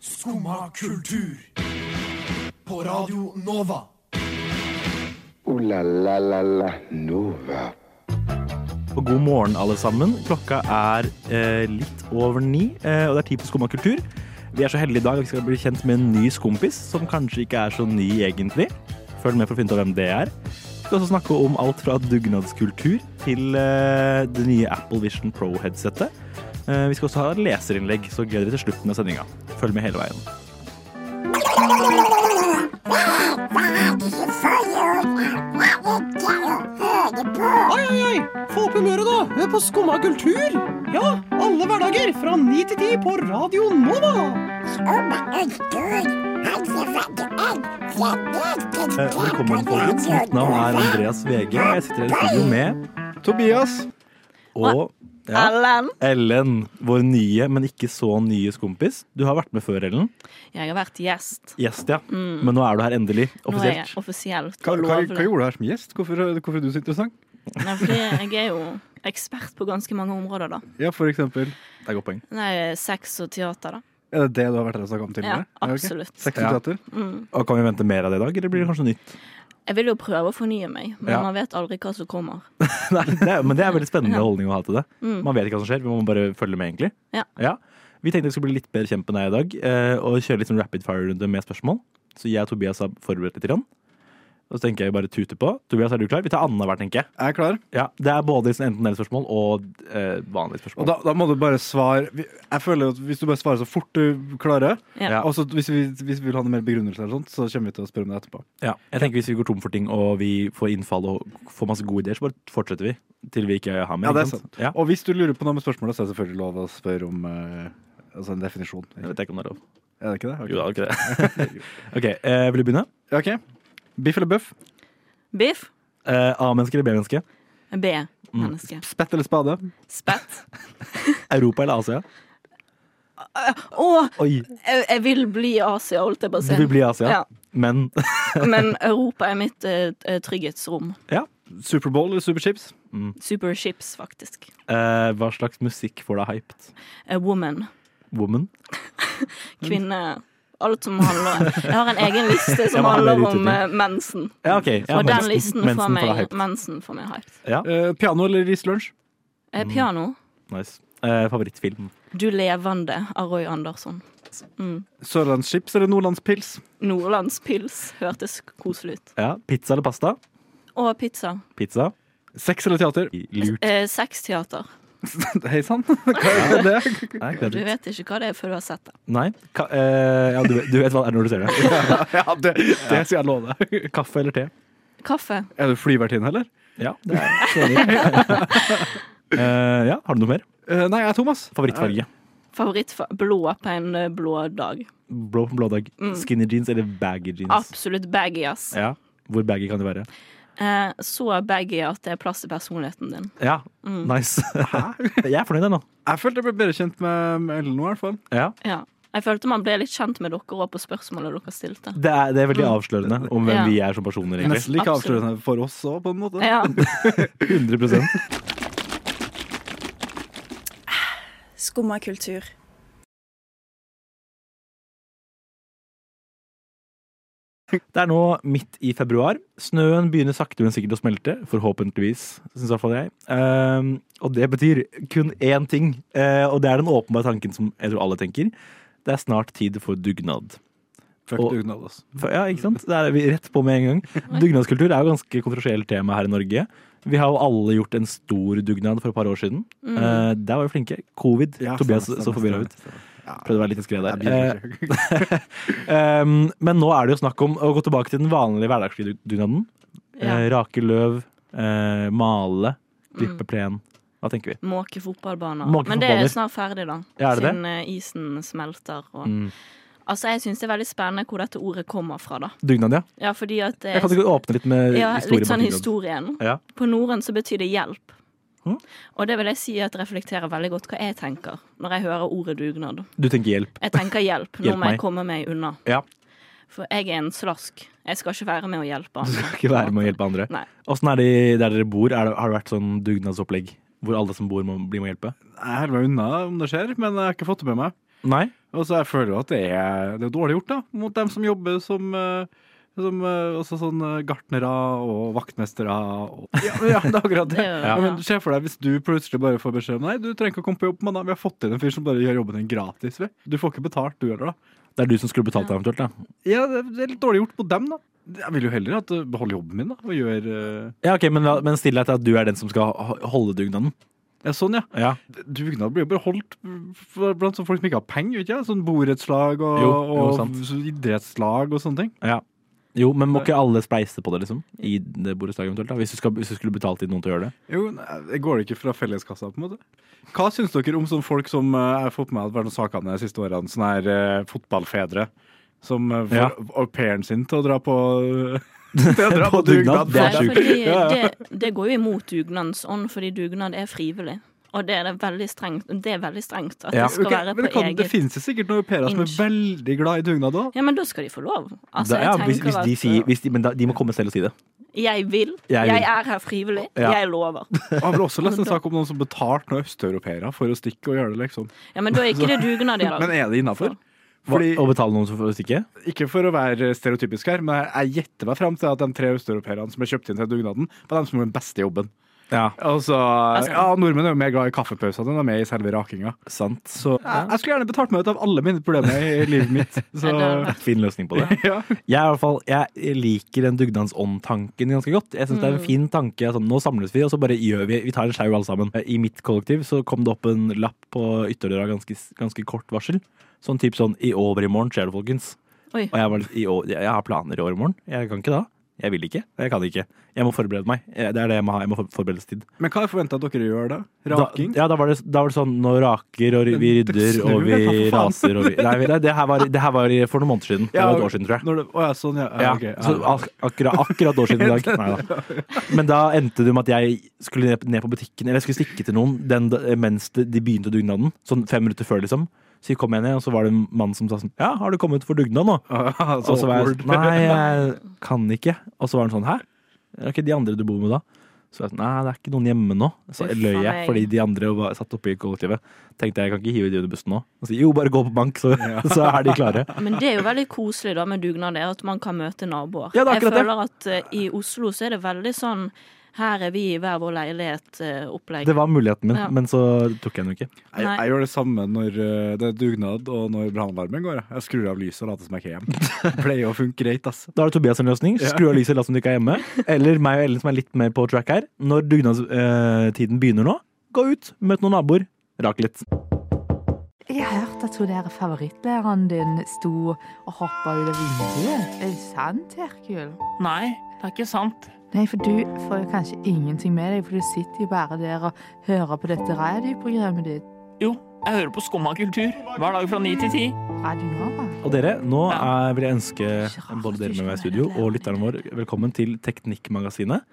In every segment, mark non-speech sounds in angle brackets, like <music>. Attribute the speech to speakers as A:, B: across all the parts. A: Skumma kultur. På Radio Nova.
B: Ooh la la la la Nova.
C: Og god morgen, alle sammen. Klokka er eh, litt over ni, eh, og det er tid for Skumma kultur. Vi er så heldige i dag at vi skal bli kjent med en ny skompis, som kanskje ikke er så ny egentlig. Følg med for å finne ut av hvem det er. Vi skal også snakke om alt fra dugnadskultur til eh, det nye Apple Vision Pro-headsetet. Eh, vi skal også ha et leserinnlegg, så gleder vi til slutten av sendinga. Følg med hele veien.
D: Oi, oi, oi! Få opp humøret, da! Hør på Skumma kultur! Ja, alle hverdager fra ni til ti på Radio Nova!
C: Eh, Velkommen, folkens. Mitt navn er Andreas VG. Jeg sitter her i studio med Tobias. Og ja,
E: Ellen.
C: Ellen, vår nye, men ikke så nye kompis. Du har vært med før, Ellen.
E: Jeg har vært gjest.
C: Gjest, ja. Men nå er du her endelig.
E: Mm. Nå er jeg
C: Offisielt.
E: offisielt.
F: Hva, hva, hva
E: lovlig.
F: gjorde du her som gjest? Hvorfor, hvorfor er du så interessant?
E: Nei, fordi jeg er jo ekspert på ganske mange områder, da.
F: Ja, for eksempel.
C: Det er godt poeng.
E: Nei, sex og teater, da.
F: Er det det du har vært her og snakket om tidligere?
E: Ja,
F: ok.
E: absolutt.
F: Sex
C: Ja.
F: og teater?
C: Og kan vi vente mer av det i dag, eller blir det kanskje nytt? <laughs>
E: Jeg vil jo prøve å fornye meg, men
C: Ja.
E: man vet aldri hva som kommer.
C: Nei, det er, men det er en veldig spennende holdning å ha til det.
E: Mm.
C: Man vet ikke hva som skjer, vi må bare følge med, egentlig.
E: Ja.
C: Vi tenkte vi skulle bli litt bedre kjent med deg i dag, eh, og kjøre litt sånn rapid fire-runde med spørsmål. Så jeg og Tobias har forberedt litt. Grann. Og så tenker jeg vi bare tuter på. Tobias, er du klar? Vi tar annenhver, tenker jeg.
F: Er jeg klar?
C: Ja, Det er både liksom enten-eller-spørsmål og eh, vanlige
F: Og
C: spørsmål.
F: da, da må du bare svare vi- Jeg føler at hvis du bare svarer så fort du klarer
E: Ja.
F: Og så hvis vi, hvis vi vil ha noe mer begrunnelse eller sånt, så kommer vi til å spørre om det etterpå.
C: ja, jeg tenker Hvis vi går tom for ting og vi får innfall og får masse gode ideer, så bare fortsetter vi til vi ikke har mer.
F: Ja, det er
C: ikke
F: sant.
C: Ja,
F: Og hvis du lurer på noe med spørsmålet, så er det selvfølgelig lov å spørre om eh, altså en definisjon.
C: jeg vet ikke om det er lov.
F: Er det ikke det? Ok.
C: Jo, det er ikke det. <laughs> ok, eh, Vil du begynne?
F: Ja, OK. Biff eller bøff?
E: Biff.
C: Eh, A-menneske eller B-menneske? Mm.
E: B-menneske.
F: Spett eller spade?
E: Spett.
C: Europa eller Asia?
E: Å,
C: Oi,
E: jeg, jeg vil bli Asia, holdt jeg på å
C: du
E: si.
C: vil bli Asia,
E: Ja.
C: men <laughs>
E: Men Europa er mitt eh, eh, trygghetsrom.
F: Superbowl eller Superchips?
E: Superships, faktisk.
C: eh, hva slags musikk får deg hyped?
E: A woman.
C: Woman? Mm.
E: Kvinne. Alt som handler Jeg har en egen liste
C: Jeg
E: som
C: må ha mer
E: handler om
C: utdypning.
E: eh, mensen.
C: Ja, ok. Ja,
E: og den
C: mensen-
E: listen får
C: mensen deg
E: meg,
C: hyped.
E: mensen får meg hype.
F: Eh, piano eller rislunsj?
E: Eh,
C: Mm.
E: piano.
C: Nice. Eh, favorittfilm?
E: Du levende av Roy Andersson.
F: Sørlandschips eller nordlandspils?
E: Nordlandspils hørtes koselig ut.
C: Ja. Pizza eller pasta?
E: Og pizza.
C: Pizza.
F: Sex eller teater?
C: Lurt.
E: Eh, Sexteater.
F: <laughs> Hei sann, hva er det?
C: Nei,
E: Du
C: kledelig.
E: vet ikke hva det er før du har sett det.
C: Nei. Ka eh, ja, du, vet- du vet hva det er når du ser det.
F: Ja, det, det skal jeg love deg.
C: Kaffe eller te?
E: Kaffe.
F: Er du flyvertinne, eller?
C: Ja, det er jeg. <laughs> Eh, ja, har du noe mer?
F: Eh, nei, jeg er Thomas.
C: Favorittfarge?
E: Favorittfarge blå på en eh, blå dag.
C: Blå på blå dag. Skinny jeans eller baggy jeans?
E: Absolutt baggy, ass.
C: Ja. Hvor baggy kan det være?
E: Eh, så baggy at det er plass til personligheten din.
C: Ja, nice. Jeg er fornøyd ennå.
F: Jeg følte jeg ble bedre kjent med med Ellen nå, i hvert fall.
C: <laughs> Ja.
E: Ja. Jeg følte man ble litt kjent med dere òg på spørsmålet dere stilte.
C: Det er, det er veldig avslørende om hvem
E: Ja.
C: vi er som personer, egentlig.
F: Nesten like
E: Absolutt.
F: avslørende for oss òg, på en måte.
E: Ja.
C: <laughs> 100
G: Skumma kultur.
C: Det er nå midt i februar. Snøen begynner sakte, men sikkert å smelte. Forhåpentligvis, syns i hvert fall jeg. Ehm, og det betyr kun én ting, eh, og det er den åpenbare tanken som jeg tror alle tenker. Det er snart tid for dugnad.
F: Fuck
C: Og-
F: dugnad, altså.
C: For, ja, ikke sant? Det er vi rett på med en gang. Dugnadskultur er jo ganske kontroversielt tema her i Norge. Vi har jo alle gjort en stor dugnad for et par år siden.
E: Mm.
C: Eh, der var vi flinke. Covid.
F: Ja,
C: Tobias
F: stemmer,
C: så
F: stemmer,
C: forvirra ut.
F: stemmer, stemmer.
C: Prøvde å være litt diskret
F: Ja,
C: der.
F: jeg
C: Eh,
F: blir ikke.
C: Um, men nå er det jo snakk om å gå tilbake til den vanlige hverdagslige dugnaden.
E: ja. Mm.
C: Eh, rake løv, eh, male, klippe plen. Hva tenker vi?
E: Måke fotballbaner.
C: Måke
E: Men det er
C: fotballer.
E: snart ferdig, da.
C: Ja, er det det?
E: Siden eh, isen smelter og
F: Mm.
E: Altså, jeg syns det er veldig spennende hvor dette ordet kommer fra, da.
C: Dugnad, ja.
E: Ja, fordi at det
C: Jeg kan ikke åpne litt med
E: Eh, ja,
C: historie
E: Litt
C: bak
E: sånn
C: dugnad.
E: historien.
C: Ja.
E: På norrøn så betyr det hjelp.
C: Mhm.
E: Og det vil jeg si at reflekterer veldig godt hva jeg tenker når jeg hører ordet dugnad.
C: Du tenker hjelp.
E: Jeg
C: <laughs>
E: tenker hjelp, nå
C: Hjelp
E: må
C: meg.
E: jeg komme meg unna.
C: Ja.
E: For jeg er en slask. Jeg skal ikke være med å hjelpe
C: Du
E: andre.
C: skal ikke være med å hjelpe andre.
E: Nei.
C: Åssen er det der dere bor? Er det, har det vært sånn dugnadsopplegg hvor alle som bor, må, blir med å hjelpe?
F: Jeg holder meg unna om det skjer, men jeg har ikke fått det med meg.
C: Nei?
F: Og så jeg føler jo at det er, det er dårlig gjort da, mot dem som jobber som, eh, som eh, også sånn eh, gartnere og vaktmestere. Og, <laughs> ja, men ja, det er akkurat det.
E: Det er jo-
F: Ja. Men Se for deg hvis du plutselig bare får beskjed om Nei, du trenger ikke å komme på jobb, mann. Vi har fått inn en fyr som bare gjør jobben din gratis. Vi. Du får ikke betalt, du heller, da.
C: Det er du som skulle betalt det eventuelt, da.
F: Ja, det det er litt dårlig gjort mot dem, da. Jeg vil jo heller at eh, beholde jobben min, da. Og gjør eh,
C: Ja, ok, Men, men still deg til at du er den som skal ho- holde dugnaden.
F: Ja, sånn, ja.
C: Ja.
F: Dugnad blir jo bare holdt for- blant sånne folk som ikke har penger, ikke sant? Sånn borettslag og,
C: Jo, jo, sant.
F: og så- idrettslag og sånne ting.
C: Jo, men må ikke alle spleise på det, liksom? I det borettslaget eventuelt, da? Hvis du, skal, hvis du skulle betalt inn noen til å gjøre det?
F: Jo, nei, det går det ikke fra felleskassa, på en måte. Hva syns dere om sånne folk som eh, jeg har fått med at vært noen saker de siste årene, sånne her eh, fotballfedre som eh, får
C: Ja.
F: au pairen sin til å dra på <laughs>
C: <laughs>
F: til å dra
C: På
F: på
C: dugnad,
F: dugnad?
C: <laughs> det er
E: Nei,
C: sjukt.
E: fordi
F: Ja, ja.
E: det, det går jo imot dugnadsånd, fordi dugnad er frivillig. Og det er det veldig strengt, det er veldig strengt at
C: Ja.
E: det skal
F: Ok,
E: være
F: men det
E: på
F: kan- Det
E: eget
F: finnes jo sikkert noen au pairer som er
E: Inch.
F: veldig glad i dugnad òg.
E: Ja, men da skal de få lov. Altså,
C: Da- ja,
E: jeg
C: hvis,
E: tenker
C: hvis de
E: at,
C: sier, hvis de, men da, de må komme selv og si det.
E: Jeg vil.
C: Jeg
E: Jeg,
C: vil.
E: er her frivillig.
C: Ja.
E: Jeg lover.
F: Jeg har vel også lest en
E: Men da-
F: sak om noen som betalte noen østeuropeere for å stikke og gjøre det, liksom.
E: Ja, men da er ikke det dugnad i
F: Men
E: dag.
F: er det innafor?
C: Hva,
F: Fordi,
C: å betale noen for å stikke?
F: ikke for å være stereotypisk her, men jeg gjetter meg fram til at de tre østeuropeerne som ble kjøpt inn til dugnaden, var de som gjorde den beste jobben.
C: Ja,
F: Altså,
E: Altså-
F: ja, Nordmenn er jo mer glad i kaffepausene enn de er med i selve rakinga.
C: sant. Så
F: Jeg, jeg skulle gjerne betalt meg ut av alle mine problemer i livet
E: <laughs>
F: mitt. Så,
E: Ja, det
C: <laughs> fin løsning på det.
F: <laughs> ja.
C: Jeg, er i hvert fall, jeg liker den dugnadsånd-tanken ganske godt. Jeg synes det er en
F: Mm.
C: fin tanke. Sånn, nå samles vi, og så bare gjør vi Vi tar en sjau alle sammen. I mitt kollektiv så kom det opp en lapp på ytterdøra ganske, ganske kort varsel. Sånn typ sånn I over i morgen skjer det, folkens.
E: Oi.
C: Og jeg, var litt, i år, jeg har planer i år i morgen. Jeg kan ikke da. Jeg vil ikke. Jeg kan ikke. Jeg må forberede meg. Eh, Det er det jeg må ha. Jeg må ha forberedelsestid.
F: Men hva er forventa at dere gjør da?
C: Da,
F: Raking?
C: ja, da var, det, da var det sånn Nå raker og vi rydder
F: Dødsnøl,
C: og vi
F: ja, for faen.
C: raser og vi Nei, nei, det her var, det her var for noen måneder siden. Det
F: Ja,
C: var et år siden, tror jeg.
F: Når det, å, ja, sånn, ja.
C: Ja,
F: ja, ok,
C: så
F: <laughs> ja.
C: ak akkurat, akkurat et år siden i
F: <laughs>
C: dag. Neida. Men da endte det med at jeg skulle ned- ned på butikken, eller jeg skulle stikke til noen den, da- mens de de begynte dugnaden. Sånn fem minutter før, liksom. Så jeg kom jeg ned, og så var det en mann som sa sånn Ja, har du kommet for dugnad nå?
F: Ah,
C: Og så var jeg
F: awkward.
C: sånn Nei, jeg kan ikke. Og så var han sånn Hæ? Er det ikke de andre du bor med da? Så jeg sånn, Nei, det er ikke noen hjemme nå. Så
E: Uff,
C: løy jeg,
E: nei.
C: fordi de andre var satt oppe i kollektivet. Tenkte jeg, jeg kan ikke hive de under bussen nå. Og så jo, bare gå på bank, så, så er de
E: <laughs>
C: klare.
E: Men det er jo veldig koselig da med dugnad, det er at man kan møte naboer.
C: Ja, det er
E: jeg
C: akkurat det.
E: føler at eh, i Oslo så er det veldig sånn her er vi i hver vår eh, leilighet-opplegg.
C: Det var muligheten min,
E: Ja.
C: men så tok jeg den jo ikke.
F: <laughs> Jeg,
E: Nei.
F: jeg gjør det samme når eh, det er dugnad og når brannalarmen går. jeg. Jeg skrur av lyset og later som jeg
C: <laughs>
F: ikke er hjemme. Det Pleier å funke greit, altså. ass.
C: altså. Da har du Tobias en løsning. Skru av lyset, lat som du ikke er hjemme. Eller meg og Ellen som er litt mer på track her. Når dugnadstiden begynner nå, gå ut, møt noen naboer, rak litt.
H: Jeg har hørt at hun der favorittlæreren din sto og hoppa ut av vinduet. Er det sant, Herkul?
I: Nei, det er ikke sant.
H: Nei, for du får jo kanskje ingenting med deg, for du sitter jo bare der og hører på dette radioprogrammet ditt.
I: Jo, jeg hører på Skumma kultur hver dag fra ni til ti.
H: Radio Nova.
C: Og dere, nå er, vil jeg ønske både dere med meg i studio og lytteren vår velkommen til Teknikkmagasinet.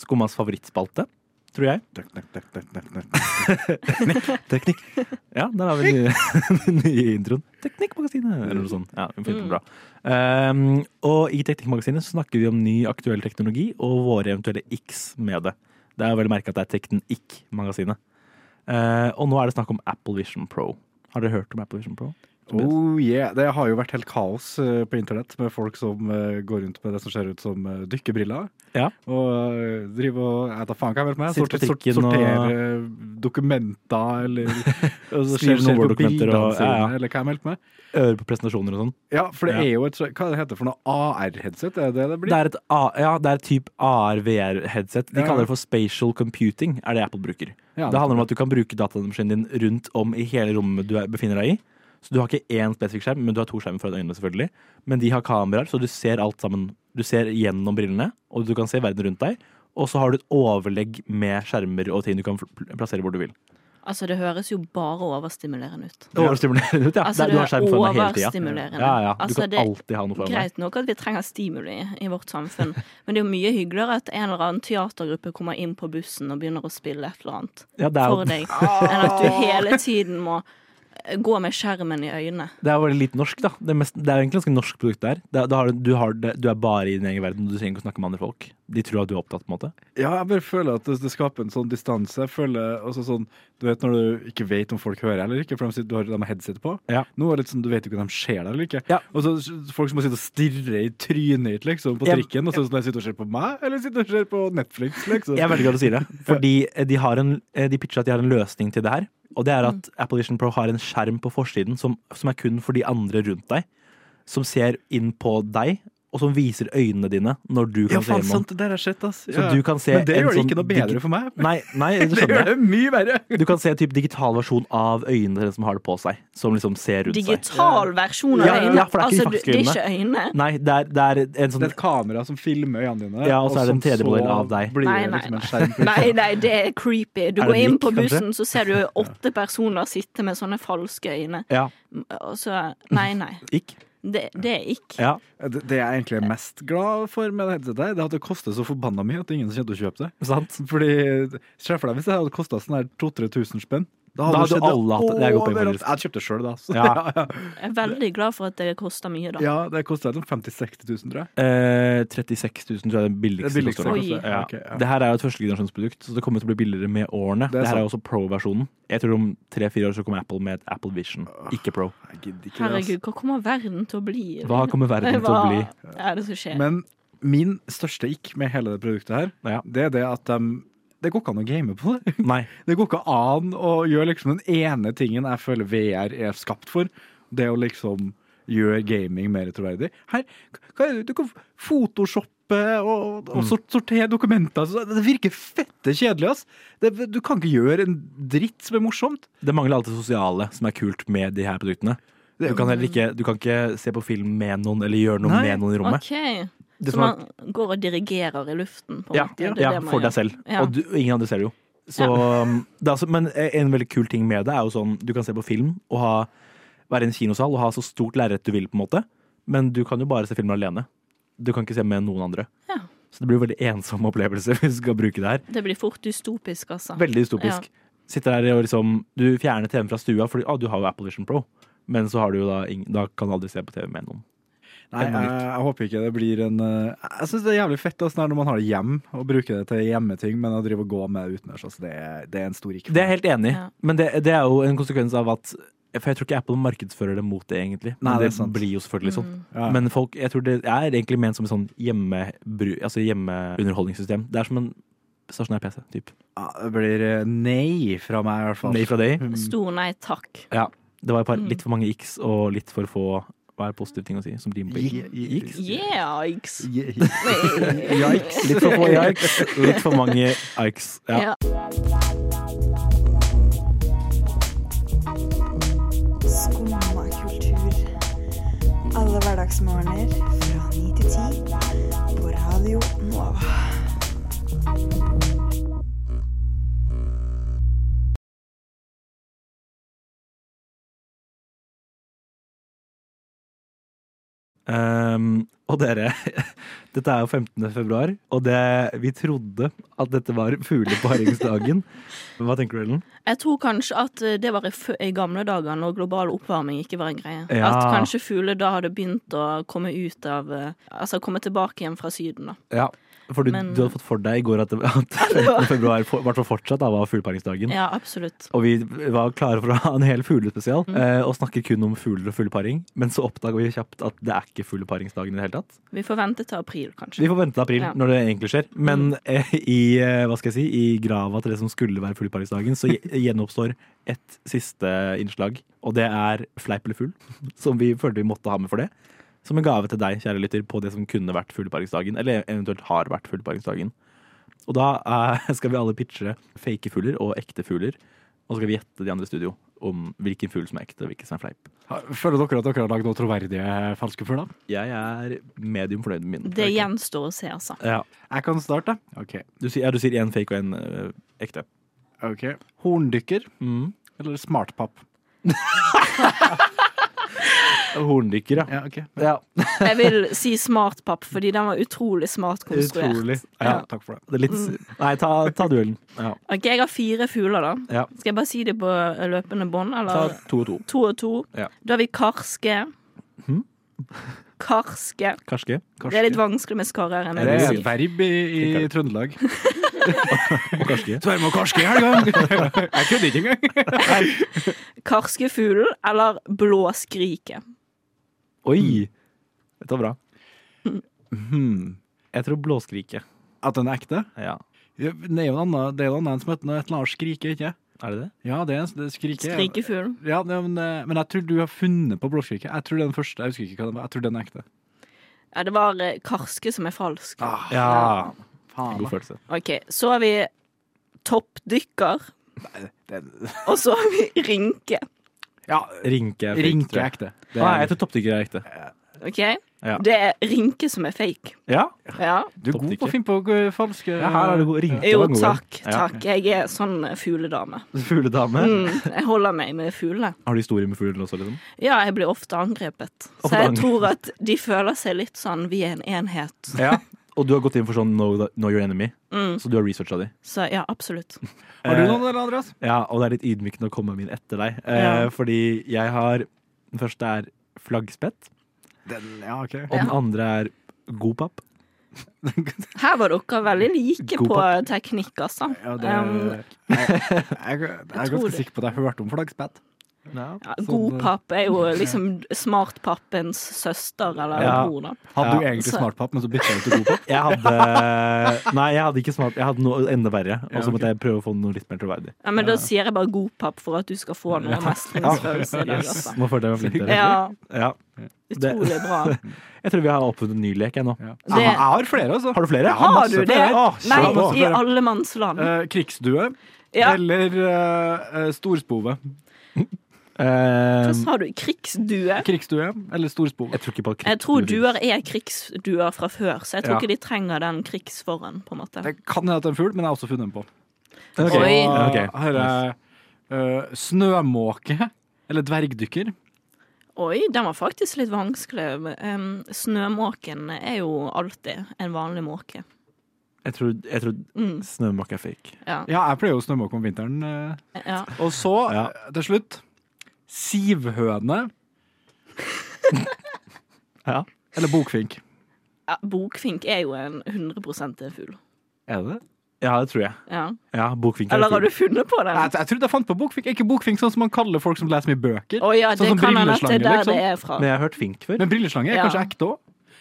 C: Skummas favorittspalte, tror jeg.
F: Takk, takk, takk, takk, takk, takk.
C: <laughs> Teknikk. Ja, der har vi den nye, <laughs> nye introen. Teknikkmagasinet, eller noe sånt. Ja, vi finner den bra. Ehm, og i Teknikkmagasinet så snakker vi om ny aktuell teknologi og våre eventuelle x med det. Det er vel merka at det er Teknikk-magasinet. Eh, og nå er det snakk om Apple Vision Pro. Har dere hørt om Apple Vision Pro? Tobias?
F: Oh yeah, Det har jo vært helt kaos eh, på internett med folk som eh, går rundt med det som ser ut som eh, dykkerbriller.
C: Ja.
F: Og eh, driver og Jeg vet da faen hva jeg har vært med.
C: Sitter på
F: Sorter, sort,
C: trikken og-
F: sorterer eh, dokumenter
C: <laughs>
F: eller og så
C: Skriver
F: ser-
C: noen
F: ser på
C: Word-dokumenter
F: bildene
C: og- ja, ja.
F: sine, Eller hva jeg meldte med.
C: Ører på presentasjoner og sånn.
F: Ja, for det
C: Ja.
F: er jo et Hva det heter det for noe AR-headset? Er det det det
C: Det
F: blir?
C: er et, A- ja, det er et type AR-VR-headset. De
F: Ja.
C: kaller det for spatial computing, er det Apple bruker.
F: Ja,
C: det handler om at du kan bruke datamaskinen din rundt om i hele rommet du er, befinner deg i. Så du har ikke én spesifikk skjerm, men du har to skjermer foran øynene, selvfølgelig. Men de har kameraer, så du ser alt sammen. Du ser gjennom brillene, og du kan se verden rundt deg. Og så har du et overlegg med skjermer og ting du kan pl- plassere hvor du vil.
E: Altså, det høres jo bare overstimulerende ut.
C: Overstimulerende ut, ja.
E: Altså,
C: Der, du har skjerm foran deg hele tida.
E: overstimulerende.
C: Ja, ja. Du
E: Altså,
C: kan
E: det er
C: alltid ha noe foran deg.
E: Greit nok at vi trenger stimuli i vårt samfunn, men det er jo mye hyggeligere at en eller annen teatergruppe kommer inn på bussen og begynner å spille et eller annet
C: Ja, det er jo-
E: for deg, enn at du hele tiden må eh, gå med skjermen i øynene.
C: Det er jo veldig litt norsk, da. Det er, mest, det er jo egentlig ganske norsk produkt der. Det, er- da har du, du, har det, du er bare i din egen verden, du trenger ikke å snakke med andre folk. De tror at du er opptatt, på en måte.
F: Ja, jeg bare føler at det, det skaper en sånn distanse. Jeg føler også sånn, Du vet når du ikke vet om folk hører eller ikke, for de, sitter- du har, de har headset på.
C: Ja.
F: Nå er det litt sånn, du vet ikke om de ser deg eller ikke.
C: Ja.
F: Og så s- Folk som må sitte og stirre i trynet ditt liksom, på
C: Jeg-
F: trikken, og så sånn, de sitter og ser på meg, eller sitter og ser på Netflix. liksom.
C: Jeg er veldig glad du sier det, fordi eh, de, har en, eh, de pitcher at de har en løsning til det her. Og det er
F: Mm.
C: at Apple Vision Pro har en skjerm på forsiden som, som er kun for de andre rundt deg. Som ser inn på deg, og som viser øynene dine når du kan
F: Ja,
C: se
F: faen
C: gjennom.
F: sant, det der har jeg sett, ass.
C: Så du kan se
F: Men det
C: en
F: gjør det
C: sånn
F: ikke noe
C: digi-
F: bedre for meg.
C: Nei, nei det
F: <laughs> Det gjør
C: skjønner jeg.
F: det mye verre.
C: Du kan se en type digital versjon av øynene til den som har det på seg. Som liksom ser rundt seg.
E: Digital versjon av
C: Ja, ja,
E: øynene.
C: ja, for det er ikke de
E: altså, det,
C: faktiske
E: det er ikke øynene.
C: Nei, det er, det er en
F: Det
C: sånn
F: er et kamera som filmer øynene dine.
C: Ja, og så er det en
F: som
C: 3D-modell
F: så
C: av deg.
F: Blir
E: Nei,
F: det
E: nei,
F: liksom en skjerm.
E: Nei, nei, det er creepy. Du
C: Er det
E: går inn
C: nikk,
E: på
C: kanskje?
E: bussen, så ser du åtte personer sitte med sånne falske øyne.
C: Ja.
E: Og så Nei, nei.
C: Ikk.
E: Det, det er ikke.
C: Ja,
F: Eh, Det, det jeg egentlig er mest glad for med det headsetet, her, det er at det koster så forbanna mye at det er ingen som kommer til å kjøpe det.
C: sant?
F: Fordi, Se for deg hvis det hadde kosta sånn her 2000-3000 spenn.
C: Da hadde
F: det skjedd
C: alle hatt det. Det er godt poeng,
F: overalt.
C: faktisk.
F: Jeg kjøpte det sjøl, da. Så.
C: Ja.
F: <laughs> ja.
E: Jeg er veldig glad for at det koster mye, da.
F: ja, det kosta 50 000-60 000, tror jeg.
C: Eh, 36 000 tror jeg er den
F: Det
C: billigste.
F: er billigste.
C: koster.
E: Oi.
F: koster.
C: Ja.
F: ok, ja.
C: Det her er jo et førstegenerasjonsprodukt, så det kommer til å bli billigere med årene.
F: Det er
C: Det her er jo også pro-versjonen. Jeg tror om tre-fire år så kommer Apple med et Apple Vision, ikke altså. pro.
F: Jeg gidder ikke det, ass.
E: Herregud, hva kommer verden til å bli?
C: Hva kommer verden til å
E: Hva
C: bli?
E: er det som skjer?
F: Men min største ikk med hele det produktet her,
C: Ja.
F: det er det at de det går ikke an å game på det.
C: Nei.
F: Det går ikke an å gjøre liksom den ene tingen jeg føler VR er skapt for. Det å liksom gjøre gaming mer troverdig. Her, hva er det? Du kan photoshoppe og,
C: Mm.
F: og sort- sortere dokumenter. Så Det virker fette kjedelig, ass. Det, du kan ikke gjøre en dritt som er morsomt.
C: Det mangler alt det sosiale som er kult med de her produktene. Du kan heller ikke, du kan ikke se på film med noen eller gjøre noe
F: Nei.
C: med noen i rommet.
E: OK.
C: Det
E: Så
C: som er-
E: man går og dirigerer i luften, på en
C: Ja,
E: måte.
C: ja,
E: Det er det man
C: for
E: gjør.
C: deg selv.
E: Ja.
C: Og du, ingen andre ser det jo. Så, det er altså, men en veldig kul ting med det er jo sånn du kan se på film og ha, være i en kinosal og ha så stort lerret du vil, på en måte. Men du kan jo bare se filmer alene. Du kan ikke se med noen andre.
E: Ja.
C: Så det blir jo veldig ensom opplevelse <laughs> hvis du skal bruke det her.
E: Det blir fort dystopisk, altså.
C: Veldig dystopisk. Sitter der og liksom Du fjerner TV-en fra stua fordi ah, du har jo Apple Vision Pro. Men så har du jo da, ing- da kan du aldri se på TV med noen.
F: Nei,
C: Eller
F: jeg,
C: noe
F: jeg håper ikke det blir en eh, Jeg syns det er jævlig fett ass, når man har det hjem, og bruker det til hjemmeting, men å drive og gå med det utenlands, altså, det, er- det er en stor ikk.
C: Det er jeg helt enig i,
E: Ja.
C: men det, det er jo en konsekvens av at For jeg tror ikke Apple markedsfører det mot det, egentlig. Men
F: Nei, det
C: det,
F: er sant.
C: blir jo selvfølgelig
E: Mm.
C: sånn.
F: Ja.
C: Men folk, jeg tror det er egentlig ment som et sånn hjemmebru, altså hjemmeunderholdningssystem. Det er som en stasjonær PC. Typ.
F: Ja, det blir eh, nei fra meg, i hvert fall. Mm.
C: Nei fra deg.
E: Stor Mm. nei takk.
C: Ja. Det var et par, litt for mange x og litt for få hva er positive ting å si? Som rimer på
F: Gi- gi-
C: x.
E: Yeah, Ikes.
F: <laughs> Yikes.
C: Litt for få yikes, litt for mange ikes. Ja.
E: Ja.
G: Skumma kultur. Alle hverdagsmorgener fra ni til ti på Radio Nova.
C: Ehm, og dere, <laughs> dette er jo 15. februar, og det, vi trodde at dette var fugleparingsdagen. Hva tenker du, Ellen?
E: Jeg tror kanskje at eh, det var i, fø- i gamle dager når global oppvarming ikke var en greie.
C: Ja.
E: At kanskje fugler da hadde begynt å komme ut av eh, Altså komme tilbake igjen fra Syden, da.
C: Ja, for du,
E: Men-
C: du hadde fått for deg i går at, det- at
E: <laughs>
C: 15. <laughs> februar for, i hvert fall fortsatt da, var fugleparingsdagen.
E: Ja, absolutt.
C: Og vi var klare for å ha en hel fuglespesial
E: Mm.
C: eh, og snakke kun om fugler og fugleparing. Men så oppdaga vi kjapt at det er ikke fugleparingsdagen i det hele tatt.
E: Vi får vente til april, kanskje.
C: Vi får vente til april
E: Ja.
C: når det egentlig skjer. Men eh, i, eh, hva skal jeg si, i grava til det som skulle være fugleparingsdagen, så gje- gjenoppstår et siste innslag. Og det er Fleip eller fugl, som vi følte vi måtte ha med for det. Som en gave til deg, kjære lytter, på det som kunne vært fugleparingsdagen. Eller eventuelt har vært fugleparingsdagen. Og da eh, skal vi alle pitche fake fugler og ekte fugler. Og så skal vi gjette de andre i studio om hvilken fugl som er ekte og hvilken som er fleip.
F: Føler dere at dere har lagd eh, noen troverdige falske fugler?
C: Jeg er medium fornøyd med min.
E: Det gjenstår å se, altså.
C: Ja.
F: Jeg kan starte. Ok.
C: Du sier, ja, du sier én fake og én eh, ekte.
F: Ok. Mm. Horndykker eller smartpapp?
C: Horndykker, ja.
F: Ja, ok.
C: ja.
E: Jeg vil si smartpapp, fordi den var utrolig smart konstruert.
F: Utrolig. Ja, takk for det.
C: Det er litt Nei, ta, ta duellen. Ja.
E: Ok, Jeg har fire fugler, da.
C: Ja.
E: Skal jeg bare si det på løpende bånd,
C: Ta
E: eller?
C: to og to.
E: To og to.
C: Ja.
E: Da har vi karske.
C: Hm?
E: Karske.
C: Karske.
E: Det er litt vanskelig med skarrer. enn
C: Er
F: Det er
E: jeg vil
F: et
E: si.
F: Eh, verb i, i Trøndelag. <laughs>
C: Karske.
F: Tverme og karske i helga! <laughs> Jeg kødder ikke engang. <laughs>
E: Karskefuglen eller blåskriket.
C: Oi! Dette var bra.
F: Hmm.
C: Jeg tror blåskriket.
F: At den er ekte?
C: Ja.
F: Det er jo en annen, det er jo en annen som heter noe- et eller annet skrike, ikke
C: Er det det?
F: Ja, det er det er skrike.
E: Skrikefuglen.
F: Ja, det, er- men, eh, men jeg tror du har funnet på blåskriket. Jeg tror det er den første. Jeg husker ikke hva den var. Jeg tror den er ekte.
E: Ja, det var eh, karske som er falsk.
C: Ah.
F: Ah,
C: Ja.
F: Faen.
C: God
F: da.
C: følelse.
E: OK, så har vi toppdykker.
F: Den-
E: Og så har vi rynke.
F: Ja,
C: Rinke er fake,
F: rinke
C: tror
F: er
C: jeg.
F: ekte. Det
C: Nei, jeg
F: er,
C: tror toppdykker er ekte.
E: OK?
C: Ja.
E: Det er rynke som er fake.
C: Ja,
E: Ja.
F: du er god på
C: toppdykker.
F: å finne på eh, falske
C: ja her er det god rinke.
E: Jo,
C: var god.
E: takk.
C: Ja.
E: Takk. Jeg er sånn eh, fugledame.
C: Fugledame.
E: Mm, jeg holder meg med fuglene.
C: Har du historie med fuglen også, liksom?
E: Ja, jeg blir ofte angrepet.
C: Ofte
E: Så jeg
C: angrepet.
E: tror at de føler seg litt sånn vi er en enhet.
C: Ja. Og du har gått inn for sånn know, the, know your enemy,
E: Mm.
C: så du har researcha de.
E: Så ja, absolutt.
F: Har du
C: Eh,
F: noen, Andreas?
C: Ja, og det er litt ydmykende å komme med min etter deg. Eh,
E: Ja.
C: Fordi jeg har Den første er flaggspett,
F: Den, ja, ok.
C: og den andre er godpapp.
E: Her var dere veldig like
C: God
E: på
C: papp.
E: teknikk, altså.
F: Ja, det,
E: Um,
F: jeg, jeg, jeg er
E: tror
F: ganske
E: det.
F: sikker på at jeg hørte om flaggspett.
E: ja, god papp er jo liksom smartpappens søster eller
C: Ja.
E: bror, da.
F: Hadde du
C: Ja.
F: egentlig
E: Så-
F: smartpapp, men så bytta du til god papp?
C: Jeg
F: <laughs>
C: hadde Nei, jeg hadde ikke smart. Jeg hadde noe enda verre. Og så
F: Ja, ok.
C: måtte jeg prøve å få noe litt mer troverdig.
E: Ja, men da sier jeg bare god papp for at du skal få noe mestringsfølelse i dag,
C: Yes.
E: altså.
C: Nå følte jeg meg flink. dere.
E: Ja,
C: Ja. Det-
E: utrolig bra.
C: <laughs> Jeg tror vi har oppfunnet en ny lek, jeg nå.
F: Ja.
E: Det-
F: Jeg, har, jeg har flere, altså.
C: Har du flere?
E: Har du det?
C: Å,
E: Nei,
C: kjør på.
E: i alle manns land.
F: Eh, krigsdue
E: Ja,
F: eller eh, eh, storspove.
E: hva
C: Eh,
E: sa du? Krigsdue?
F: Krigsdue eller storspove.
C: jeg tror ikke på
E: Jeg tror duer er krigsduer fra før, så jeg tror
F: Ja.
E: ikke de trenger den krigs foran, på en måte.
F: Det kan hende at det er en fugl, men jeg har også funnet den på.
C: Ok.
E: Oi.
F: Og
C: Ok.
F: her er eh, snømåke eller dvergdykker.
E: Oi, den var faktisk litt vanskelig. Em, snømåken er jo alltid en vanlig måke.
C: Jeg tror, jeg tror
E: Mm,
C: snømåke er fake.
E: ja,
F: Ja, jeg pleier jo å snømåke om vinteren. eh.
E: ja.
F: Og så,
C: Ja.
F: eh, til slutt, sivhøne
C: Ja.
F: eller bokfink.
E: ja. Bokfink er jo en 100 en fugl.
F: Er det det?
C: Ja, det tror jeg.
E: Ja.
C: Ja, bokvinkel. er
E: Eller har
C: fugl.
E: du funnet på
F: Jeg,
E: den?
F: jeg trodde jeg fant på bokfink. Er Ikke bokfink sånn som man kaller folk som leser mye bøker.
E: Å ja, det
F: sånn som
E: kan hende at det er
F: brilleslange,
E: der
F: liksom.
E: det er fra.
C: Men jeg har hørt fink før.
F: Men brilleslange er
E: Ja.
F: kanskje ekte òg?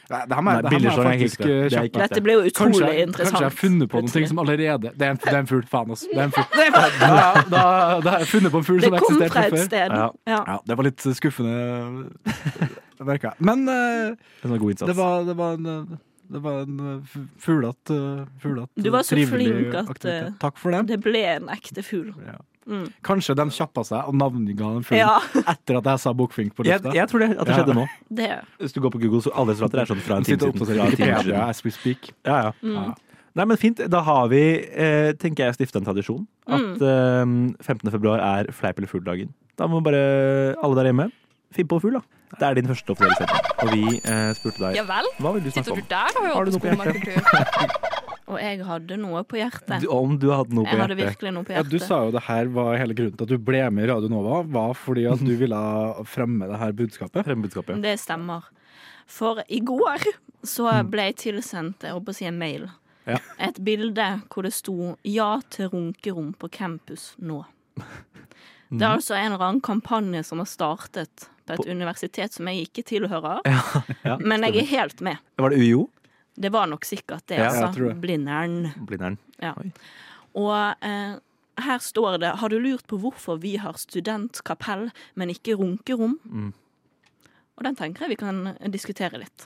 F: Det her må
C: Nei,
F: jeg- det her må
C: brilleslange er
F: jeg
C: ikke
F: faktisk
C: ekte.
F: eh,
C: Det er
F: kjappe.
C: ikke ekte.
E: Dette ble jo utrolig
F: Kanskje, jeg-
E: interessant.
F: kanskje jeg har funnet på noen ting
E: Plutselig.
F: som allerede Det er en, det er en fugl, faen ass. Det er en
E: <laughs>
F: fugl. Da, da, da har jeg funnet på en fugl
E: Det
F: som
E: kom
F: eksisterte
E: fra
F: fra
E: et
F: før.
E: sted.
C: Ja.
E: Ja.
F: Ja, det var litt skuffende, det merka jeg. Men eh,
C: Det var god innsats.
F: det var, det var en eh, det var en eh, fu- fuglete eh, fuglete,
E: Du var så
F: trivelig
E: flink at,
F: aktivitet.
E: eh,
F: Takk for det.
E: Det ble en ekte fugl.
F: Ja.
E: Mm.
F: Kanskje de kjappa seg og navnga en fugl
E: Ja,
F: etter at jeg sa bokfink på
C: jeg,
F: lufta.
C: jeg tror det, at det skjedde nå.
E: det
C: Hvis du går på Google, så alle resultater er sånn fra en time
F: De sitter og
C: siden.
F: oppdaterer
C: Fra en time
F: Wikipedia
C: siden.
F: as we speak.
C: Ja, ja.
E: mm.
C: Nei, men fint. Da har vi, eh, tenker jeg, stifta en tradisjon. At eh, 15. februar er fleip eller fugl-dagen. Da må bare alle der hjemme finne på fugl, da. Det er din første offisielle sending. Og vi eh, spurte deg
J: Ja vel?
C: hva vil du snakke
J: Sitter
C: om?
J: du der da og
C: Har du
J: jobber
C: noe på
J: skomakultur?
C: <laughs>
E: Og jeg hadde noe på hjertet.
C: Du, om du hadde noe på
E: Jeg hadde
C: hjertet.
E: virkelig noe på
F: Ja, du
E: hjertet.
F: sa jo det her var hele grunnen til at du ble med i Radio Nova, var fordi at du ville fremme det her budskapet.
C: Fremme budskapet.
E: Det stemmer. For i går så ble jeg tilsendt jeg holdt på å si en mail.
C: Mm. Ja.
E: Et bilde hvor det sto 'Ja til runkerom på campus
C: <laughs>
E: nå'. Det
C: Mm.
E: er altså en eller annen kampanje som har startet på et universitet som jeg ikke tilhører.
C: <laughs> ja,
E: men jeg er helt med.
C: Var det UiO?
E: Det var nok sikkert det,
C: Ja, jeg
F: tror
E: altså.
F: det.
E: Blindern.
C: Blindern.
E: Og eh, her står det 'Har du lurt på hvorfor vi har studentkapell, men ikke runkerom?'
C: Mm.
E: Og den tenker jeg vi kan eh, diskutere litt.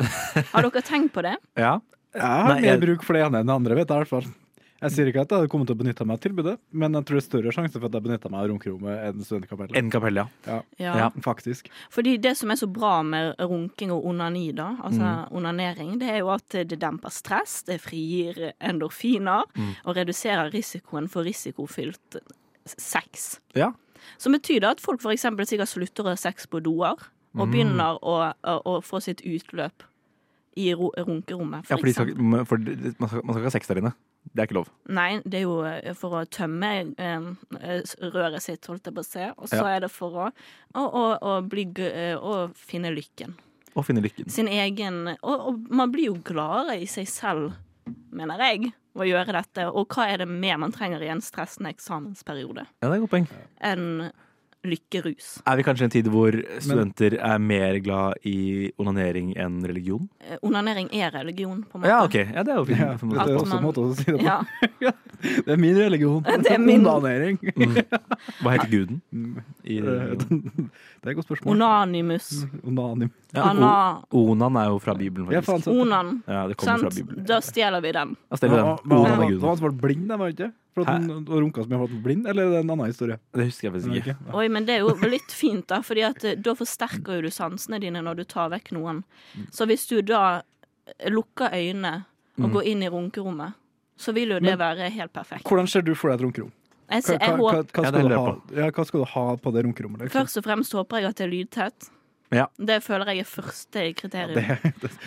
E: Har dere tenkt på det?
C: Ja.
F: Jeg har
C: Nei,
F: mer
C: jeg-
F: bruk for det ene enn det andre, vet jeg i hvert fall. Jeg sier ikke at jeg hadde kommet til å benytte meg av tilbudet, men jeg tror det er større sjanse for at jeg benytta meg av runkerommet enn studentkapellet.
C: En kapell, ja. Ja.
F: Faktisk.
E: Fordi det som er så bra med runking og onani, da, altså
C: Mm.
E: onanering, det er jo at det demper stress, det frigir endorfiner
C: Mm.
E: og reduserer risikoen for risikofylt sex.
C: Ja.
E: Som betyr da at folk for eksempel sikkert slutter å ha sex på doer.
C: Mm.
E: og begynner å, å, å få sitt utløp i ro, runkerommet.
C: Ja,
E: For
C: for, de skal,
E: eksempel.
C: ikke- for de- man, skal, man skal ikke ha sex der inne. Det er ikke lov.
E: Nei, det er jo eh, for å tømme eh, s- røret sitt, holdt jeg på å si. Og så er det for å, å, å, å, bli, gø- eh, å finne lykken.
C: Å finne lykken.
E: Sin egen og, og man blir jo gladere i seg selv, mener jeg, ved å gjøre dette. Og hva er det mer man trenger i en stressende eksamensperiode
C: Ja, det er et godt poeng.
E: enn lykkerus?
C: Er vi kanskje i en tid hvor studenter er mer glad i onanering enn religion?
E: Eh, Onanering er religion, på en måte.
C: Ja, ok. Ja, det er jo fint.
F: Ja, det er også en måte å si det på.
E: Ja.
F: Det er min religion.
E: Det er min.
C: <laughs>
F: Onanering.
C: Hva heter guden? I
F: Eh,
C: religion?
F: Det er et godt spørsmål. Mhm.
E: Onanimus.
F: Onanim.
C: Ja,
E: Ana.
C: o- Onan er jo fra Bibelen,
F: Ja,
C: faktisk.
F: faen, sant.
E: Onan.
C: Ja, det kommer fra
E: Sant?
C: Bibelen.
E: Da stjeler vi den.
C: Ja, stemmer
F: Ja,
C: det.
F: men
C: Onan
F: han,
C: er
F: han,
C: guden.
F: han var blind, da, var han ikke? For at han, han runka så mye for at han var blind? Eller er det en annen historie?
C: Det husker jeg faktisk ikke.
F: Ok.
E: Oi, men det er jo litt fint, da, Fordi at eh, da forsterker jo du sansene dine når du tar vekk noen.
C: Mm.
E: Så hvis du da eh, lukker øynene
C: Mm.
E: og går inn i runkerommet, så vil jo det være helt perfekt.
F: Hvordan ser du for deg et runkerom? Hva,
E: Jeg, ser-
F: hva,
E: jeg
F: hva, hva,
E: håper,
C: Ja, det
F: skal,
C: lurer
F: du
C: jeg
F: ha, ja, hva skal du ha på det runkerommet? <laughs> Liksom?
E: først og fremst håper jeg at det er lydtett.
C: Ja.
E: Det føler jeg er første kriterium.
F: <laughs>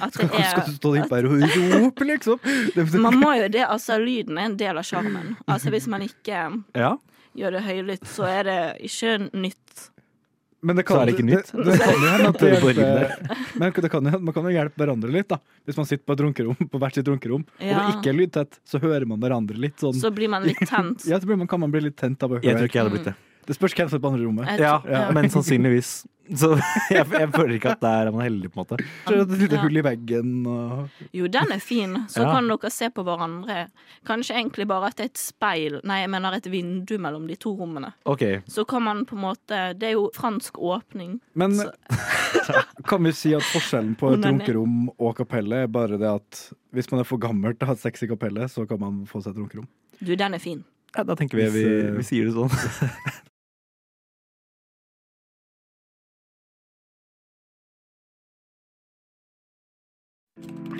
E: at det
F: Skal, skal du
E: er
F: stå innpå her og rope, liksom? Det,
E: Man må jo det, altså lyden er en del av sjarmen. Altså hvis man ikke
C: Ja.
E: gjør det høylytt, så er det ikke nytt.
F: men det
C: Så er det ikke nytt.
F: Det, det kan jo hende at det
C: <laughs>
F: eh,
C: Det er bare
F: hjelper, men det kan, jo- man kan jo hjelpe hverandre litt, da. Hvis man sitter på, et runkerom, på hvert sitt runkerom, og
E: Ja.
F: det ikke er lydtett, så hører man hverandre litt sånn.
E: Så blir man litt
F: <laughs>
E: tent.
F: ja, så blir man, kan man bli litt tent av
C: Jeg
F: å
C: tror
F: høre.
C: ikke jeg hadde blitt det.
F: Det spørs hvem som er på andre rommet.
E: Mm. Jeg
C: Ja,
E: tror- ja.
C: Men sannsynligvis. Så <laughs> jeg, jeg føler ikke at der er man heldig, på en måte.
F: Så er det Et lite
E: Ja.
F: hull i veggen og
E: Jo, den er fin. Så
C: Ja.
E: kan dere se på hverandre. Kanskje egentlig bare at det er et speil, nei, jeg mener et vindu mellom de to rommene.
C: Ok,
E: Så kan man på en måte Det er jo fransk åpning.
F: Men
E: Så-
F: <laughs> kan vi si at forskjellen på et
E: Onani.
F: runkerom og kapellet er bare det at hvis man er for gammel til å ha sex i kapellet, så kan man få seg et runkerom?
E: Du, den er fin.
C: ja, da tenker vi vi, vi sier det sånn.
J: <laughs>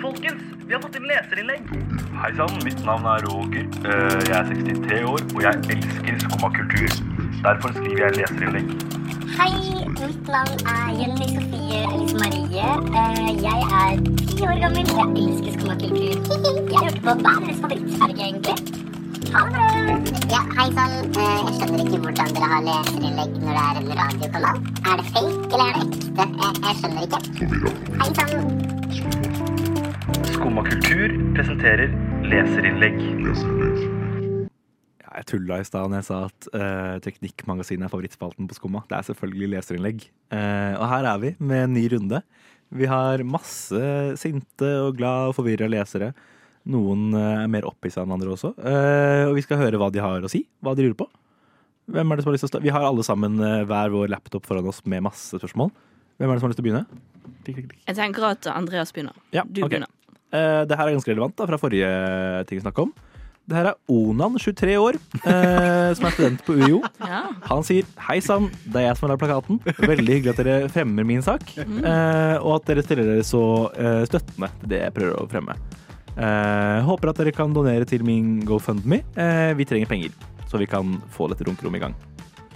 J: Folkens, vi har fått inn leserinnlegg.
K: Hei sann, mitt navn er Roger. Eh, Jeg er 63 år, og jeg elsker skummakultur. Derfor skriver jeg leserinnlegg.
J: Hei, mitt navn er Jenny Sofie Elise Marie. Eh, Jeg er ti år gammel, og jeg elsker skomakultur. <laughs> Jeg hørte på hver deres favorittfarge, egentlig. Ha det bra! Ja, hei sann. Eh, Jeg skjønner ikke hvordan dere har leserinnlegg når det er en radiokanal. Er det fake, eller er det ekte? Jeg, jeg skjønner ikke. Hei sann.
K: Skummakultur presenterer leserinnlegg.
C: Ja, jeg tulla i stad når jeg sa at eh, Teknikkmagasinet er favorittspalten på Skumma. Det er selvfølgelig leserinnlegg. Eh, og her er vi med en ny runde. Vi har masse sinte og glad og forvirra lesere. Noen eh, er mer opphissa enn andre også. Eh, og vi skal høre hva de har å si. Hva de lurer på. Hvem er det som har lyst til å starte? Vi har alle sammen eh, hver vår laptop foran oss med masse spørsmål. Hvem er det som har lyst til å begynne? Klikk, klikk, klikk.
E: Jeg tenker at Andreas begynner.
C: Ja,
E: Du
C: ok.
E: begynner.
C: Eh, det her er ganske relevant da, fra forrige ting vi snakka om. Det her er Onan, 23 år, eh, som er student på UiO.
E: Ja.
C: Han sier hei sann, det er jeg som har lagd plakaten. Veldig hyggelig at dere fremmer min sak.
E: Mhm.
C: eh, og at dere stiller dere så eh, støttende til det jeg prøver å fremme. Eh, håper at dere kan donere til min GoFundMe. Eh, vi trenger penger, så vi kan få dette runkerommet i gang.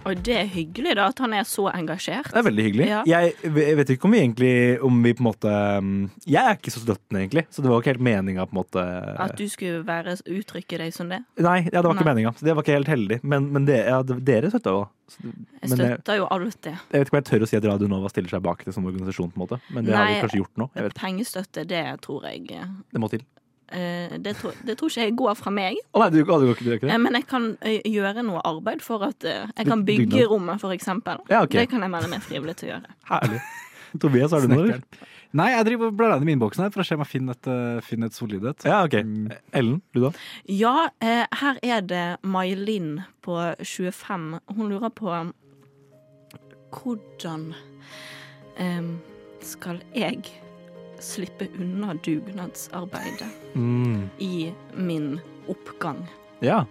E: Og det er hyggelig, da, at han er så engasjert.
C: Det er veldig hyggelig.
E: Ja.
C: Jeg, jeg vet ikke om vi egentlig om vi på en måte mm, Jeg er ikke så støttende, egentlig, så det var ikke helt meninga, på en måte.
E: At du skulle være, uttrykke deg som det.
C: Nei, ja, det var ikke
E: Nei.
C: meninga. Så det var ikke helt heldig. Men, men det, ja, det- dere støtta jo. Så-
E: Jeg
C: Men jeg,
E: støtter jo alt det.
C: jeg vet ikke om jeg tør å si at Radio Nova stiller seg bak det som organisasjon. på en måte Men det har
E: Nei.
C: vi kanskje gjort nå. Jeg vet, ikke.
E: Pengestøtte, det tror jeg
C: det må til.
E: eh, det, tror, det tror ikke jeg går fra meg.
C: Å nei, du, å, du, går ikke, du gjør ikke
E: Eh,
C: det?
E: Men jeg kan ø, gjøre noe arbeid for at ø, jeg kan
C: Byg-
E: bygge
C: dugnad.
E: rommet, for eksempel.
C: Ja, ok.
E: Det kan jeg melde meg frivillig til å gjøre.
C: Herlig. Tobias, har du noe? eller?
F: Nei, jeg driver og blar gjennom innboksen her for å se om jeg finner et, eh, finner et solid et.
C: Ja, ok.
F: Mm.
C: Ellen, du da?
E: Ja, eh, her er det May-Linn på 25. Hun lurer på hvordan em, skal jeg slippe unna dugnadsarbeidet
F: Mm.
E: i min oppgang?
C: Ja.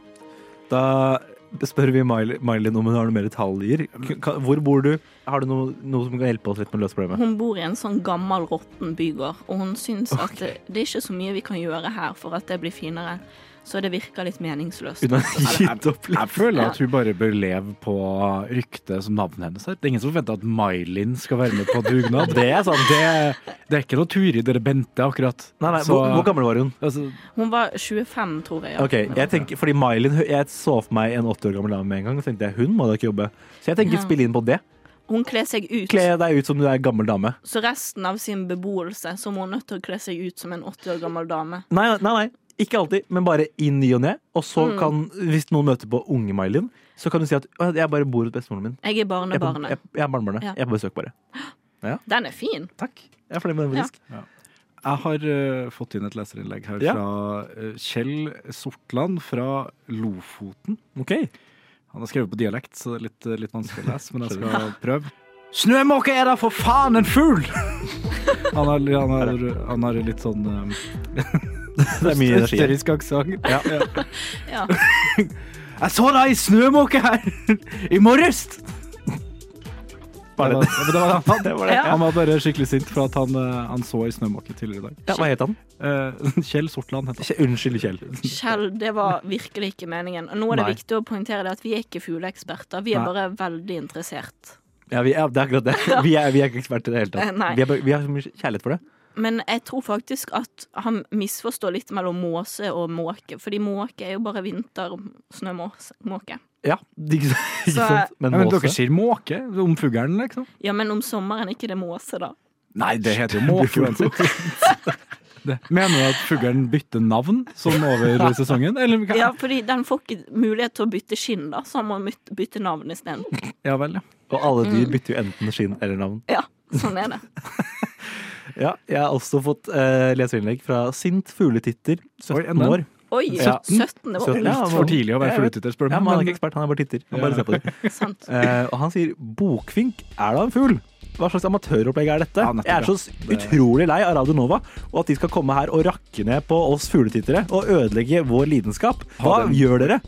C: Da spør vi Mail- Mailin om hun har noen mer detaljer. K- kan- Hvor bor du? Har du noe, noe som kan hjelpe oss litt med å løse problemet?
E: Hun bor i en sånn gammel, råtten bygård, og hun syns at det, det er ikke så mye vi kan gjøre her for at det blir finere. Så det virker litt meningsløst.
F: Hun har
E: Eller-
F: gitt opp litt. Jeg føler at hun bare bør leve på ryktet som navnet hennes er. Det er ingen som forventer at May-Linn skal være med på dugnad. <laughs> Det er sant. Det, det er ikke noe Turid eller Bente, akkurat. altså,
C: Nei, nei, hvor, hvor gammel var hun?
E: Hun var 25, tror jeg. ja.
C: Ok, jeg tenker, fordi Mylin, hun- jeg så for meg en 80 år gammel dame med en gang, og tenkte jeg, hun må da ikke jobbe. Så jeg tenker
E: Ja.
C: spille inn på det.
E: Hun kler seg ut.
C: Kle deg ut som du er en gammel dame.
E: Så resten av sin beboelse så må hun nødt til å kle seg ut som en 80 år gammel dame.
C: Nei, nei, nei. Ikke alltid, men bare i ny og ne. Og så
E: Mm.
C: kan, hvis noen møter på unge Mylin, så kan du si at «Å, jeg bare bor hos bestemoren min.
E: Jeg er
C: Jeg er på-
E: barnebarnet.
C: Jeg, jeg er barnebarnet.
E: Ja.
C: Jeg er på besøk, bare. Ja.
E: Den er fin.
C: Takk. Jeg er fornøyd med den, faktisk.
F: Jeg har eh, fått inn et leserinnlegg her
C: Ja.
F: fra eh, Kjell Sortland fra Lofoten. Han har skrevet på dialekt, så det er litt, eh, litt vanskelig å lese, men jeg skal prøve. Snømåke er da for faen en fugl! Han har, han har, han har litt sånn um,
C: <laughs> Det er mye energi her.
F: Østerriksk aksent. Ja.
E: Ja.
F: Jeg så deg i snømåke her i morges!
C: Bare
F: det. var- det var det han,
C: <laughs> Det var det, ja.
F: han var bare skikkelig sint for at han, eh, han så i snømåke tidligere i dag.
C: Ja, hva het han?
F: Eh, <laughs> Kjell Sortland het
C: han. Unnskyld, Kjell.
E: Kjell, det var virkelig ikke meningen. Og nå er det
C: Nei.
E: viktig å poengtere det at vi er ikke fugleeksperter. Vi er
C: Nei.
E: bare veldig interessert.
C: Ja, vi, ja, det er akkurat det. Vi er, vi er ikke eksperter i det hele tatt.
E: Eh, Nei.
C: Vi, er, bare- vi har så mye kjærlighet for det.
E: Men jeg tror faktisk at han misforstår litt mellom måse og måke. Fordi måke er jo bare vintersnømåke.
C: Ja, <laughs> ikke sant? Ikke
E: Så-
C: sant?
F: Ja, men
C: måse.
F: dere sier måke om fuglen, liksom?
E: Ja, men om sommeren er ikke det måse, da.
F: Nei, <laughs> det heter jo måke uansett. Det. <laughs> Mener du at fuglen bytter navn sånn over sesongen? Eller, hva?
E: Ja, fordi den får ikke mulighet til å bytte skinn, da, så han må myt- bytte navn isteden.
F: Ja vel, ja.
C: Og alle dyr
E: Mm.
C: bytter jo enten skinn eller navn.
E: Ja, sånn er det.
C: Ja, jeg har også fått eh, leserinnlegg fra Sint fugletitter, 17
F: Oi, enda en.
C: år.
E: Oi, 17, det var
C: ja,
F: litt
C: han
F: for tidlig å
C: jeg
F: være
C: vet.
F: fugletitter, spør
C: Ja,
F: du meg,
C: men han er
F: men-
C: ikke ekspert, han er bare titter. Han bare
F: Ja.
C: ser på det.
E: Sant.
C: Eh, og han sier 'bokfink, er da en fugl'? Hva slags amatøropplegg er dette?
F: nettopp,
C: jeg er så
F: ja.
C: s- utrolig lei av Radio Nova, og at de skal komme her og rakke ned på oss fugletittere og ødelegge vår lidenskap. Hva
F: Ha den.
C: gjør dere?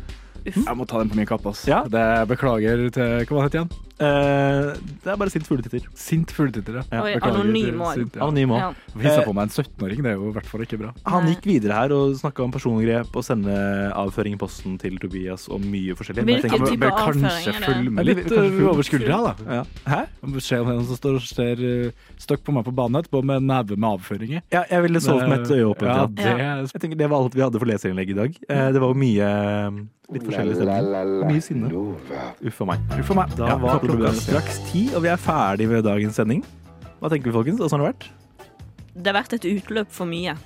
F: Jeg må ta den på min kappe, ass. Det beklager til Hva het det igjen?
C: Eh, det er bare sint fugletitter.
F: Sint fugletitter, ja.
C: Oi,
F: Beklager til
C: anonym også.
F: sint,
C: Anonym også. Ja.
F: Visa på meg en 17-åring, det er jo i hvert fall ikke bra.
C: Han gikk videre her og snakka om personangrep og sendeavføring i posten til Tobias og mye forskjellig. Men jeg
F: Hvilken
C: tenker-
F: type Jeg bør kanskje avføring er det? følge med
C: Ja, vi-
F: litt,
C: vi kanskje
F: øh,
C: følge-
F: over skuldra, da.
C: Ja. Hæ?
F: Om Beskjed om en som står og ser øh, støkk på meg på banen etterpå med neve med avføringer.
C: Ja, jeg ville sovet med et øye åpent.
F: Ja,
C: ja.
F: det
C: Jeg tenker det var alt vi hadde for leserinnlegg i dag. Eh, Det var jo mye eh, litt forskjellig stemning. Mye sinne. Uff a meg.
F: Uff a meg.
C: Da
F: Ja,
C: var
F: klokka
C: klokka
F: straks.
C: straks ti, og vi er ferdig med dagens sending. Hva tenker vi, folkens? Åssen har det vært?
E: Det har vært et utløp for mye.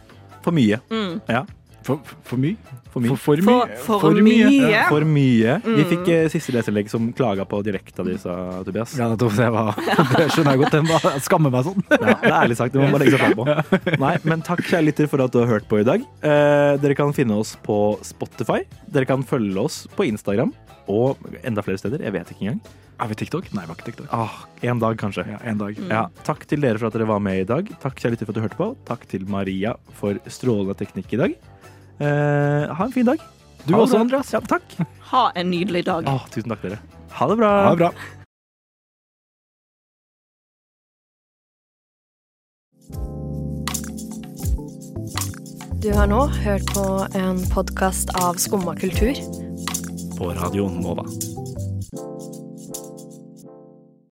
C: For mye.
E: Mm.
C: Ja.
F: For, mye?
C: For mye.
F: For,
E: mye. For- for For mye. mye.
C: Ja, For mye. Vi
E: Mm.
C: fikk eh, siste leserinnlegg som klaga på direkta di, sa Tobias.
F: Ja, nettopp. Det, var, <laughs> det skjønner jeg godt. Den var, jeg skammer meg sånn.
C: Ja, det er ærlig sagt. Det må man bare legge seg flat
F: <laughs>
C: på. Nei, men takk, kjære lytter, for at du har hørt på i dag. Eh, dere kan finne oss på Spotify. Dere kan følge oss på Instagram og enda flere steder. Jeg vet ikke engang.
F: Er vi TikTok? Nei, vi var ikke TikTok.
C: Ah, en dag, kanskje.
F: Ja, en dag.
C: Ja, takk til dere for at dere var med i dag. Takk, kjære lytter, for at du hørte på. Takk til Maria for strålende teknikk i dag. Eh, ha en fin dag.
F: Du
C: Ha det
F: også,
C: bra.
F: Andreas.
C: Ja, takk.
E: Ha en nydelig dag.
C: Ah, tusen takk, dere. Ha det bra.
F: Ha det bra.
L: Du har nå hørt på en podkast av Skumma kultur.
C: På radioen Nova.